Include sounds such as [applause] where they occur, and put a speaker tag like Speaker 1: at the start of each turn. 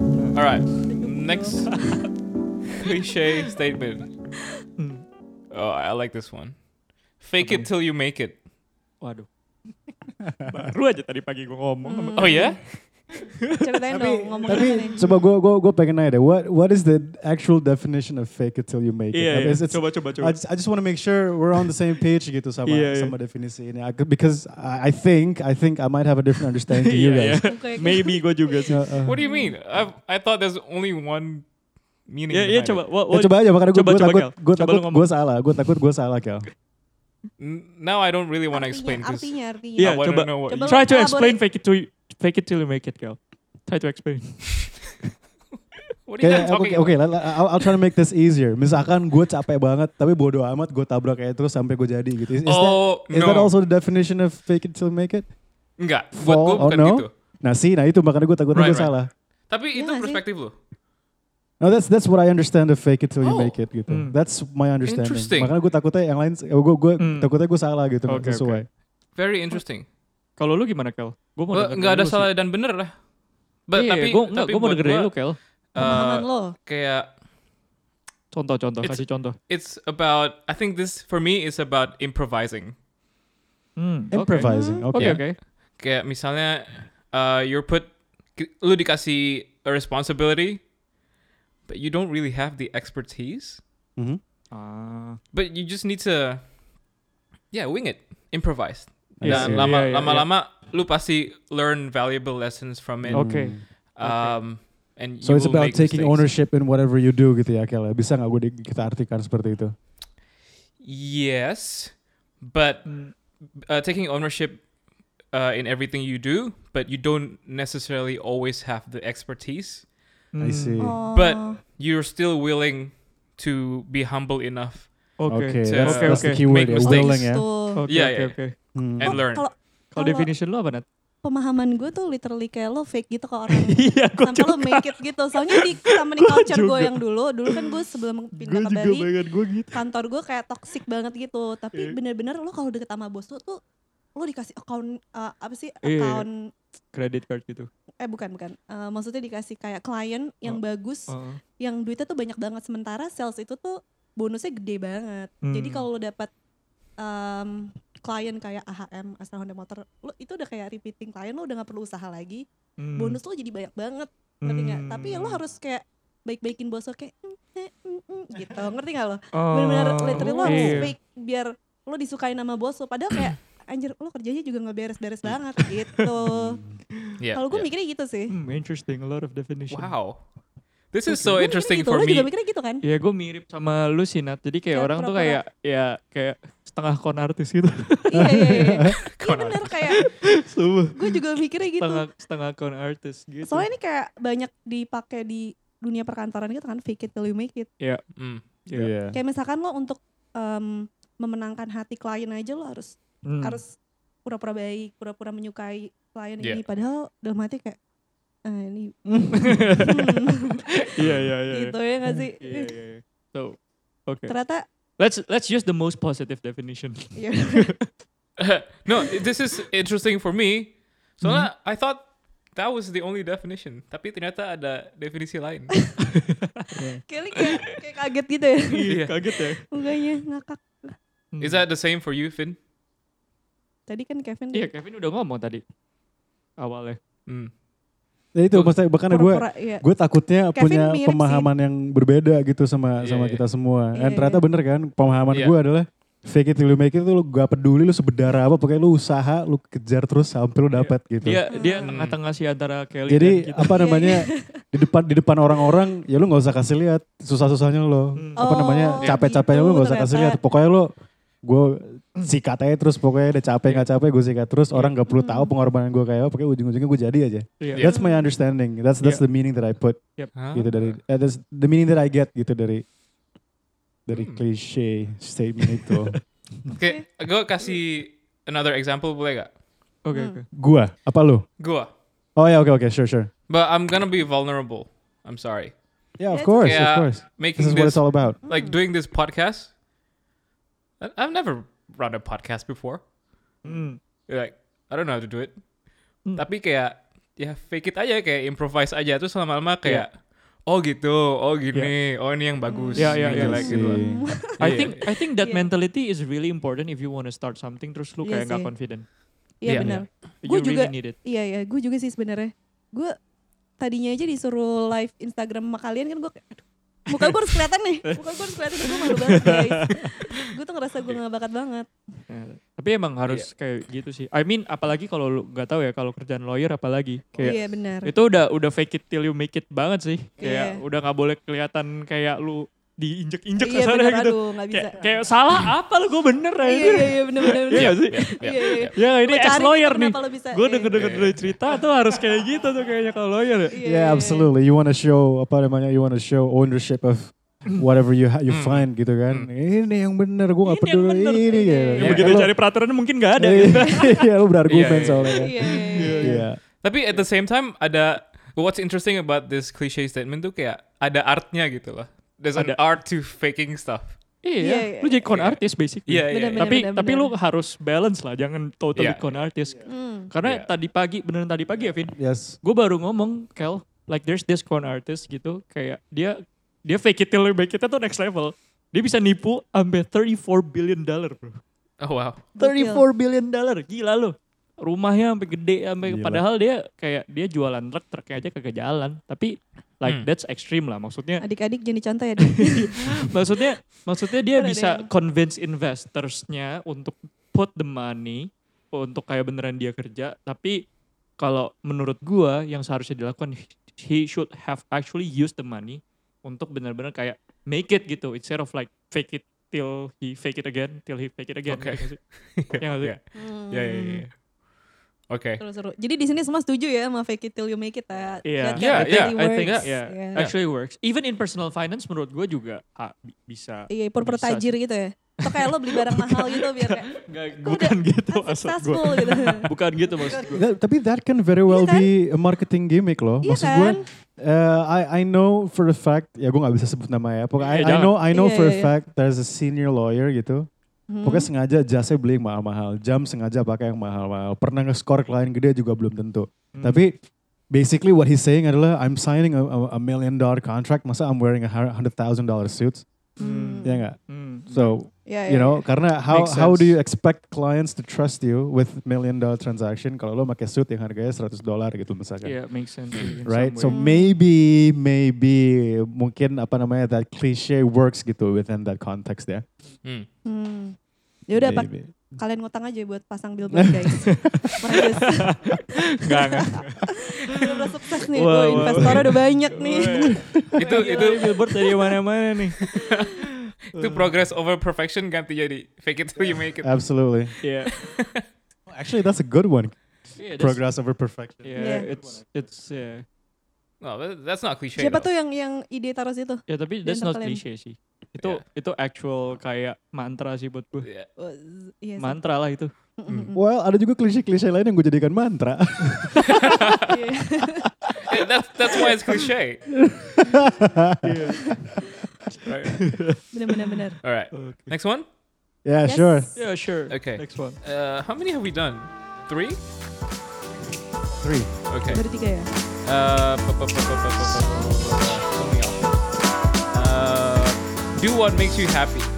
Speaker 1: All right. Next [laughs] cliche statement.
Speaker 2: Hmm.
Speaker 1: Oh, I like this one. Fake it till you make it.
Speaker 3: Waduh. Baru aja tadi pagi gue ngomong. sama-
Speaker 1: Oh ya?
Speaker 4: Ceritain dong ngomong apa nih?
Speaker 2: Tapi coba gue gue gue pengen nanya deh. What what is the actual definition of fake it till you make it?
Speaker 3: Iya,
Speaker 2: Tapi
Speaker 3: iya.
Speaker 2: it's- it's-
Speaker 3: coba coba coba.
Speaker 2: I just, I just want to make sure we're on the same page gitu sama
Speaker 3: Iya, iya.
Speaker 2: sama definisi ini. I could- because I, I think I think I might have a different
Speaker 3: [laughs]
Speaker 2: understanding to
Speaker 3: Iya,
Speaker 2: you
Speaker 3: iya.
Speaker 2: guys.
Speaker 4: Oke, oke.
Speaker 3: Maybe gue juga sih.
Speaker 2: Uh, uh.
Speaker 1: What do you mean? I I thought there's only one meaning.
Speaker 3: Ya ya
Speaker 1: behind
Speaker 3: coba.
Speaker 1: it.
Speaker 3: What,
Speaker 2: Ya,
Speaker 3: what-
Speaker 2: coba aja makanya gue
Speaker 3: coba, coba,
Speaker 2: takut
Speaker 3: Kel. Coba
Speaker 2: gue
Speaker 3: lu
Speaker 2: takut
Speaker 3: ngomong.
Speaker 2: gue salah gue takut gue salah
Speaker 3: [laughs]
Speaker 2: Kel.
Speaker 1: N- Now I don't really want to explain
Speaker 4: Artinya,
Speaker 1: because
Speaker 4: artinya, artinya.
Speaker 3: Iya,
Speaker 1: I want
Speaker 3: coba.
Speaker 1: to know what
Speaker 4: Coba
Speaker 1: you-
Speaker 4: lu-
Speaker 3: Try to
Speaker 4: Elaborate.
Speaker 3: explain fake it to fake it till you make it, Kel. Try to explain.
Speaker 1: What are you guys
Speaker 2: Kayak
Speaker 1: talking
Speaker 2: oke oke la- la- I'll, I'll try to make this easier. Misalkan gue capek banget tapi bodo amat gue tabrak kayak terus sampai gue jadi gitu. Is, is
Speaker 1: about? Oh,
Speaker 2: that, is
Speaker 1: no.
Speaker 2: that also the definition of fake it till make it?
Speaker 1: Enggak, buat gue
Speaker 2: Fall? Oh,
Speaker 1: bukan
Speaker 2: no?
Speaker 1: gitu.
Speaker 2: Nah sih, nah itu makanya gue takutnya
Speaker 1: Right,
Speaker 2: gue
Speaker 1: right.
Speaker 2: salah.
Speaker 1: Tapi
Speaker 4: Iya
Speaker 1: itu
Speaker 4: nggak sih?
Speaker 1: perspektif lo.
Speaker 2: No, that's that's what I understand of fake it till you
Speaker 1: Oh.
Speaker 2: make it gitu.
Speaker 3: Hmm.
Speaker 2: That's my understanding.
Speaker 1: Interesting.
Speaker 2: Makanya gue takutnya yang lain, gue gue
Speaker 3: Hmm.
Speaker 2: takutnya gue salah gitu nggak
Speaker 3: Oke, oke.
Speaker 2: sesuai.
Speaker 1: Very interesting.
Speaker 3: Kalau lu gimana, Kel? Gue mau
Speaker 1: Well,
Speaker 3: dengerin
Speaker 1: Enggak ada
Speaker 3: dulu sih.
Speaker 1: salah dan bener lah. But,
Speaker 3: Iya,
Speaker 1: tapi
Speaker 3: gua, enggak,
Speaker 1: tapi
Speaker 3: gua mau
Speaker 1: buat
Speaker 3: dengerin
Speaker 1: gua,
Speaker 3: lu, Kel.
Speaker 1: eh,
Speaker 4: Pemahaman lo.
Speaker 1: kayak
Speaker 3: Contoh, contoh,
Speaker 1: It's-
Speaker 3: kasih contoh.
Speaker 1: it's about I think this for me is about improvising.
Speaker 3: Hmm, oke.
Speaker 2: Improvising, oke.
Speaker 3: Oke,
Speaker 1: Yeah.
Speaker 3: oke.
Speaker 1: Kayak misalnya uh, you're put ki- lu dikasih a responsibility but you don't really have the expertise,
Speaker 2: Mhm.
Speaker 3: Ah.
Speaker 1: but you just need to yeah, wing it. Improvise.
Speaker 2: I
Speaker 1: Dan
Speaker 2: see.
Speaker 3: Iya,
Speaker 1: lama
Speaker 3: iya,
Speaker 1: lama-lama lu pasti learn valuable lessons from it.
Speaker 3: Oke.
Speaker 1: Um and
Speaker 2: Mm-hmm. So
Speaker 1: you
Speaker 2: it's
Speaker 1: will make
Speaker 2: about taking
Speaker 1: mistakes.
Speaker 2: ownership in whatever you do gitu ya Kel. Bisa nggak gue di- kita artikan seperti itu?
Speaker 1: Yes, but
Speaker 3: Hmm.
Speaker 1: uh, taking ownership uh, in everything you do, but you don't necessarily always have the expertise.
Speaker 3: hmm,
Speaker 2: I
Speaker 3: Uh,
Speaker 2: see.
Speaker 3: ah,
Speaker 4: Oh.
Speaker 1: But you're still willing to be humble enough.
Speaker 3: Oke.
Speaker 2: Oke,
Speaker 1: So,
Speaker 2: that's,
Speaker 3: oke,
Speaker 2: that's
Speaker 3: oke.
Speaker 2: the keyword
Speaker 1: Make
Speaker 2: ya,
Speaker 1: mistakes.
Speaker 2: willing ya.
Speaker 4: Tuh.
Speaker 3: Oke,
Speaker 1: Iya,
Speaker 3: oke,
Speaker 1: iya.
Speaker 3: oke.
Speaker 2: Hmm.
Speaker 1: And
Speaker 4: Oh,
Speaker 1: learn.
Speaker 4: gitu. Kalau
Speaker 3: Kalau
Speaker 4: Kalau-
Speaker 3: definition lu apa, Nat?
Speaker 4: pemahaman gue tuh literally kayak lo fake gitu ke orang.
Speaker 3: [laughs] Iya, gue
Speaker 4: Sampai lo
Speaker 3: [laughs]
Speaker 4: make it gitu. Soalnya di company
Speaker 3: Gua
Speaker 4: culture gue
Speaker 3: juga.
Speaker 4: yang dulu, dulu kan gue sebelum
Speaker 3: Gue
Speaker 4: pindah ke
Speaker 3: juga
Speaker 4: Bali,
Speaker 3: pengen gue gitu.
Speaker 4: kantor gue kayak toxic banget gitu
Speaker 3: Iya.
Speaker 4: tapi bener-bener lo kalau deket sama bos lo tuh lo dikasih account eh, apa sih
Speaker 3: Iya.
Speaker 4: account
Speaker 3: Credit card gitu.
Speaker 4: eh bukan bukan Eh, maksudnya dikasih kayak klien yang
Speaker 3: Oh.
Speaker 4: bagus
Speaker 3: Oh.
Speaker 4: yang duitnya tuh banyak banget sementara sales itu tuh bonusnya gede banget jadi
Speaker 3: Hmm.
Speaker 4: kalau lo dapat em, klien kayak AHM Astra Honda Motor lo itu udah kayak repeating klien lo udah nggak perlu usaha lagi
Speaker 3: Hmm.
Speaker 4: bonus lo jadi banyak banget ngerti nggak
Speaker 3: Hmm.
Speaker 4: tapi ya lo harus kayak baik-baikin bos lo kayak "Mm, eh, mm, mm," gitu ngerti nggak lo
Speaker 3: Oh,
Speaker 4: benar-benar literally lo harus
Speaker 3: iya.
Speaker 4: fake biar lo disukain sama bos lo padahal
Speaker 1: [coughs]
Speaker 4: kayak anjir lo kerjanya juga nggak beres-beres banget gitu
Speaker 1: Hmm. Yeah.
Speaker 4: kalau gue
Speaker 1: yeah.
Speaker 4: mikirnya gitu sih
Speaker 3: Hmm, interesting, a lot of definition.
Speaker 1: wow, this is so
Speaker 4: Oke. Gua mikirnya
Speaker 1: interesting
Speaker 4: gitu.
Speaker 1: for
Speaker 4: lo juga
Speaker 1: me.
Speaker 4: mikirnya gitu
Speaker 1: [laughs]
Speaker 4: kan
Speaker 3: Ya gue mirip sama lu sih Nat. Jadi kayak
Speaker 4: Kayak
Speaker 3: orang tuh
Speaker 4: pura-pura.
Speaker 3: kayak ya kayak setengah con artis gitu. [laughs]
Speaker 4: iya iya iya iya
Speaker 1: Konon.
Speaker 4: bener kayak
Speaker 3: Sumpah.
Speaker 4: gue juga mikirnya gitu
Speaker 3: setengah setengah con artis gitu.
Speaker 4: soalnya ini kayak banyak dipakai di dunia perkantoran gitu kan fake it till you make it
Speaker 1: Mm.
Speaker 3: Iya.
Speaker 2: Iya.
Speaker 4: kayak misalkan lo untuk em, memenangkan hati klien aja lo harus
Speaker 3: Hmm.
Speaker 4: harus pura-pura baik, pura-pura menyukai klien
Speaker 1: Yeah.
Speaker 4: ini. Padahal dalam hati kayak, ah, ini
Speaker 3: Hmm. [laughs] Iya iya iya.
Speaker 4: gitu ya nggak sih?
Speaker 3: Iya iya. iya. So, okay.
Speaker 4: Ternyata,
Speaker 3: Let's let's use the most positive definition. [laughs]
Speaker 4: ya,
Speaker 1: Mm. [laughs] no, this is interesting for me. So I thought that was the only definition. Tapi ternyata ada definisi lain. [laughs]
Speaker 4: kayaknya kayak, kayak kaget gitu ya.
Speaker 1: Iya.
Speaker 3: Kaget ya.
Speaker 4: Mukanya ngakak.
Speaker 3: Hmm.
Speaker 1: Is that the same for you, Finn?
Speaker 4: Tadi kan Kevin
Speaker 3: Iya, Kevin udah ngomong tadi. Awalnya.
Speaker 1: Mm.
Speaker 2: Ya itu maksudnya makanya gue
Speaker 4: pura-pura, iya.
Speaker 2: gue takutnya
Speaker 4: Kevin
Speaker 2: punya
Speaker 4: mirip sih.
Speaker 2: pemahaman yang berbeda gitu sama
Speaker 1: Iya,
Speaker 2: sama
Speaker 1: iya.
Speaker 2: kita semua.
Speaker 4: Iya,
Speaker 2: Dan ternyata
Speaker 4: iya.
Speaker 2: bener kan pemahaman
Speaker 1: Iya.
Speaker 2: gue adalah fake it till you make it tuh lu gak peduli lu sebedara apa pokoknya lu usaha lu kejar terus sampai
Speaker 1: Iya.
Speaker 2: lu dapat gitu.
Speaker 3: Dia dia
Speaker 1: Hmm.
Speaker 3: tengah-tengah sih antara Kelly
Speaker 2: Jadi
Speaker 3: dan
Speaker 2: um,
Speaker 1: gitu.
Speaker 3: kita.
Speaker 2: apa
Speaker 4: Iya,
Speaker 2: namanya di depan di depan orang-orang ya lu nggak usah kasih lihat susah-susahnya lo.
Speaker 3: Hmm.
Speaker 2: Apa
Speaker 4: Oh,
Speaker 2: namanya capek-capeknya lu
Speaker 4: gitu
Speaker 2: nggak usah kasih lihat.
Speaker 4: ternyata.
Speaker 2: Pokoknya lu gue sikat aja terus pokoknya udah capek nggak capek gue sikat terus
Speaker 1: Iya.
Speaker 2: orang nggak
Speaker 4: Hmm.
Speaker 2: perlu tahu pengorbanan gue kayak apa pokoknya ujung-ujungnya gue jadi aja.
Speaker 3: Iya.
Speaker 2: That's my understanding. That's that's
Speaker 1: Iya.
Speaker 2: the meaning that I put
Speaker 1: Huh?
Speaker 2: gitu dari eh, that's the meaning that I get gitu dari dari
Speaker 1: Hmm.
Speaker 2: cliche statement itu. [laughs]
Speaker 1: Oke, gue kasih another example boleh gak?
Speaker 3: Oke
Speaker 4: Hmm.
Speaker 3: oke.
Speaker 2: gua apa lu?
Speaker 1: Gua.
Speaker 2: Oh ya oke oke sure sure.
Speaker 1: But I'm gonna be vulnerable. I'm sorry.
Speaker 2: Yeah of
Speaker 4: That's
Speaker 2: course
Speaker 1: okay.
Speaker 2: of course.
Speaker 1: Making
Speaker 2: This is
Speaker 1: this,
Speaker 2: what it's all about.
Speaker 1: like doing this podcast. I- I've never run a podcast before.
Speaker 3: Hmm.
Speaker 1: Like I don't know how to do it.
Speaker 3: Hmm.
Speaker 1: Tapi kayak ya fake it aja kayak improvise aja terus lama-lama kayak Oh gitu, oh gini, oh ini yang bagus,
Speaker 3: Ya, ya,
Speaker 1: ini
Speaker 3: ya.
Speaker 1: jelek gitu.
Speaker 2: Sih.
Speaker 4: Hmm.
Speaker 3: I
Speaker 1: Iya.
Speaker 3: think I think that
Speaker 4: Iya.
Speaker 3: mentality is really important if you want to start something terus lu
Speaker 4: Iya
Speaker 3: kayak nggak
Speaker 4: sih.
Speaker 3: confident.
Speaker 4: Iya
Speaker 1: Iya.
Speaker 4: benar.
Speaker 3: You
Speaker 4: Gua juga-
Speaker 3: really need it.
Speaker 4: Iya ya, gue juga sih sebenarnya. Gue tadinya aja disuruh live Instagram sama kalian kan gue kayak, aduh, muka gue harus kelihatan
Speaker 3: [laughs]
Speaker 4: nih. Muka gue harus kelihatan, gue malu banget guys. Gue tuh ngerasa gue gak bakat banget.
Speaker 3: Ya, Tapi emang harus kayak gitu sih. I mean apalagi kalau lu nggak tahu ya kalau kerjaan lawyer apalagi
Speaker 4: Iya
Speaker 3: kayak
Speaker 4: benar.
Speaker 3: itu udah udah fake it till you make it banget sih. Kayak
Speaker 4: Iya.
Speaker 3: udah nggak boleh kelihatan kayak lu diinjek-injek
Speaker 4: Iya
Speaker 3: kesana
Speaker 4: benar,
Speaker 3: gitu.
Speaker 4: aduh gak bisa.
Speaker 3: Kayak, kayak salah apa lu gue bener ya
Speaker 4: Iya
Speaker 3: itu.
Speaker 4: iya iya benar benar.
Speaker 3: Iya nggak sih?
Speaker 1: Ya,
Speaker 4: Iya, iya.
Speaker 1: ya.
Speaker 3: Ya ini
Speaker 4: Gua cari
Speaker 3: as lawyer nih.
Speaker 4: kenapa lu bisa,
Speaker 3: Gue
Speaker 4: iya.
Speaker 3: denger-denger dari cerita tuh harus kayak gitu tuh kayaknya kalau lawyer ya.
Speaker 4: Iya, iya,
Speaker 2: Yeah,
Speaker 4: iya.
Speaker 2: absolutely. You want to show apa namanya? You want to show ownership
Speaker 1: [clears throat]
Speaker 2: of whatever you ha- you
Speaker 1: Hmm.
Speaker 2: find gitu kan. Ini yang benar, gue nggak
Speaker 3: Ini yang
Speaker 2: peduli
Speaker 3: bener.
Speaker 4: Iya,
Speaker 2: ini ya.
Speaker 4: iya,
Speaker 3: Ya,
Speaker 4: iya.
Speaker 3: begitu
Speaker 2: Lu-
Speaker 3: cari peraturan mungkin nggak ada gitu.
Speaker 2: [laughs] Iya, lu berargumen
Speaker 1: Iya, iya,
Speaker 2: soalnya. kan.
Speaker 4: Iya iya, iya.
Speaker 2: Iya.
Speaker 1: Tapi at the same time ada what's interesting about this cliche statement tuh kayak ada artnya gitu loh. There's an
Speaker 3: Ada.
Speaker 1: art to faking stuff.
Speaker 4: Iya,
Speaker 3: Iya,
Speaker 4: iya,
Speaker 3: lu jadi con
Speaker 1: iya.
Speaker 3: artist basically.
Speaker 1: Iya, iya.
Speaker 4: Benar-benar.
Speaker 3: Tapi tapi lu
Speaker 4: benar.
Speaker 3: harus balance lah, jangan totally
Speaker 1: Iya.
Speaker 3: con artist.
Speaker 4: Hmm.
Speaker 3: Karena
Speaker 1: Iya.
Speaker 3: tadi pagi, beneran tadi pagi ya Vin,
Speaker 2: Iya, Yes.
Speaker 3: gue baru ngomong Kel, like there's this con artist gitu, kayak dia dia fake it till you make it tuh next level. Dia bisa nipu sampai 34 billion dollar bro.
Speaker 1: Oh
Speaker 3: [laughs]
Speaker 1: wow.
Speaker 3: 34 billion dollar, gila lu. Rumahnya sampai gede, sampai
Speaker 2: Gila.
Speaker 3: padahal dia kayak dia jualan truk, truknya aja kagak jalan. Tapi like
Speaker 1: Hmm.
Speaker 3: that's extreme lah, maksudnya
Speaker 4: Adik-adik jadi contoh ya. Dik.
Speaker 3: Iya, maksudnya maksudnya dia
Speaker 4: Ada
Speaker 3: bisa
Speaker 4: yang-
Speaker 3: convince investorsnya untuk put the money untuk kayak beneran dia kerja tapi kalau menurut gua yang seharusnya dilakukan he should have actually used the money untuk benar-benar kayak make it gitu instead of like fake it till he fake it again till he fake it again
Speaker 1: Oke.
Speaker 3: Ngerti nggak sih? Iya nggak sih?
Speaker 1: Ya, ya, ya, ya. Oke.
Speaker 4: Seru-seru. Hmm. Jadi di sini semua setuju ya sama fake it till you make it ya.
Speaker 3: Iya.
Speaker 4: That
Speaker 1: Iya,
Speaker 4: kind of
Speaker 1: iya,
Speaker 4: really
Speaker 3: I think
Speaker 4: works.
Speaker 3: yeah,
Speaker 4: Iya.
Speaker 3: actually works even in personal finance menurut gua juga ah, bi- bisa
Speaker 4: Iya, purpur
Speaker 3: Bisa sih.
Speaker 4: tajir gitu ya. Atau kayak lo beli barang mahal gitu biar kayak
Speaker 3: Nggak-
Speaker 4: Gua
Speaker 3: bukan gitu maksud
Speaker 4: "Ah,
Speaker 3: gua
Speaker 4: successful
Speaker 2: [laughs]
Speaker 4: gitu.
Speaker 3: bukan gitu maksud gua
Speaker 2: That- tapi that can very well
Speaker 4: Iya kan?
Speaker 2: be a marketing gimmick loh.
Speaker 4: Iya
Speaker 2: Maksud gue,
Speaker 4: kan?
Speaker 2: eh, I I know for a fact, ya gue nggak bisa sebut nama ya. Pokoknya I,
Speaker 3: Iya,
Speaker 2: I
Speaker 3: jangan.
Speaker 2: know I know
Speaker 4: Iya,
Speaker 2: for a
Speaker 4: iya, iya.
Speaker 2: fact there's a senior lawyer gitu.
Speaker 4: Hmm.
Speaker 2: Pokoknya sengaja jasnya beli yang mahal-mahal, jam sengaja pakai yang mahal-mahal. Pernah nge-score klien gede juga belum tentu.
Speaker 3: Hmm.
Speaker 2: Tapi basically what he's saying adalah I'm signing a, a- a million dollar contract, masa I'm wearing a hu- hundred thousand dollar suits,
Speaker 3: Hmm.
Speaker 2: ya nggak?
Speaker 3: Hmm.
Speaker 2: So
Speaker 4: Iya,
Speaker 2: you
Speaker 4: iya.
Speaker 2: know, karena how
Speaker 3: Makes
Speaker 2: how do
Speaker 3: sense.
Speaker 2: you expect clients to trust you with million dollar transaction kalau lo pakai suit yang harganya 100 dolar gitu misalkan.
Speaker 3: Yeah, makes sense. in
Speaker 2: Right, so
Speaker 3: some way.
Speaker 2: maybe, maybe mungkin apa namanya that cliche works gitu within that context ya.
Speaker 1: Hmm.
Speaker 4: Hmm. Ya udah pak,
Speaker 2: Maybe.
Speaker 4: kalian ngutang aja buat pasang billboard
Speaker 2: [laughs]
Speaker 4: guys. Mereka
Speaker 3: Enggak, enggak.
Speaker 4: udah sukses nih,
Speaker 3: Wah,
Speaker 4: Wah,
Speaker 3: wah,
Speaker 4: investor
Speaker 3: wah.
Speaker 4: udah banyak nih.
Speaker 1: itu itu
Speaker 3: Ini billboard dari mana-mana nih.
Speaker 1: itu progress over perfection ganti jadi fake it till you make it.
Speaker 2: Absolutely.
Speaker 3: Yeah.
Speaker 2: Actually, that's a good one.
Speaker 3: Yeah, Iya, that's-
Speaker 2: Progress over perfection.
Speaker 3: Yeah,
Speaker 4: Yeah.
Speaker 3: it's it's yeah.
Speaker 1: No, that- that's not cliche.
Speaker 4: Siapa
Speaker 1: though.
Speaker 4: tuh yang yang ide taruh situ?
Speaker 3: Ya tapi that's
Speaker 4: Dia
Speaker 3: not
Speaker 4: ngeklaim.
Speaker 3: cliche sih. Itu itu actual kayak mantra sih buat gue.
Speaker 1: Yeah.
Speaker 4: Oh, Iya sih.
Speaker 3: Mantra lah [laughs] itu.
Speaker 4: Mm-mm.
Speaker 2: Well, ada juga klise-klise lain yang gue jadikan
Speaker 3: [laughs]
Speaker 2: mantra.
Speaker 4: [laughs]
Speaker 2: [laughs]
Speaker 4: Iya.
Speaker 1: Eh, that's that's why it's cliche. right.
Speaker 4: Bener bener bener.
Speaker 1: All right. Next one.
Speaker 2: yeah,
Speaker 4: Yes.
Speaker 2: sure.
Speaker 3: Yeah, sure.
Speaker 1: Okay.
Speaker 3: Next one.
Speaker 1: Uh, how many have we done? Three.
Speaker 2: Three.
Speaker 1: Okay.
Speaker 4: Baru tiga ya.
Speaker 1: Uh, pa- pa- pa- pa- pa- pa- pa- pa- pa- pa- something else. Uh, do what makes you happy.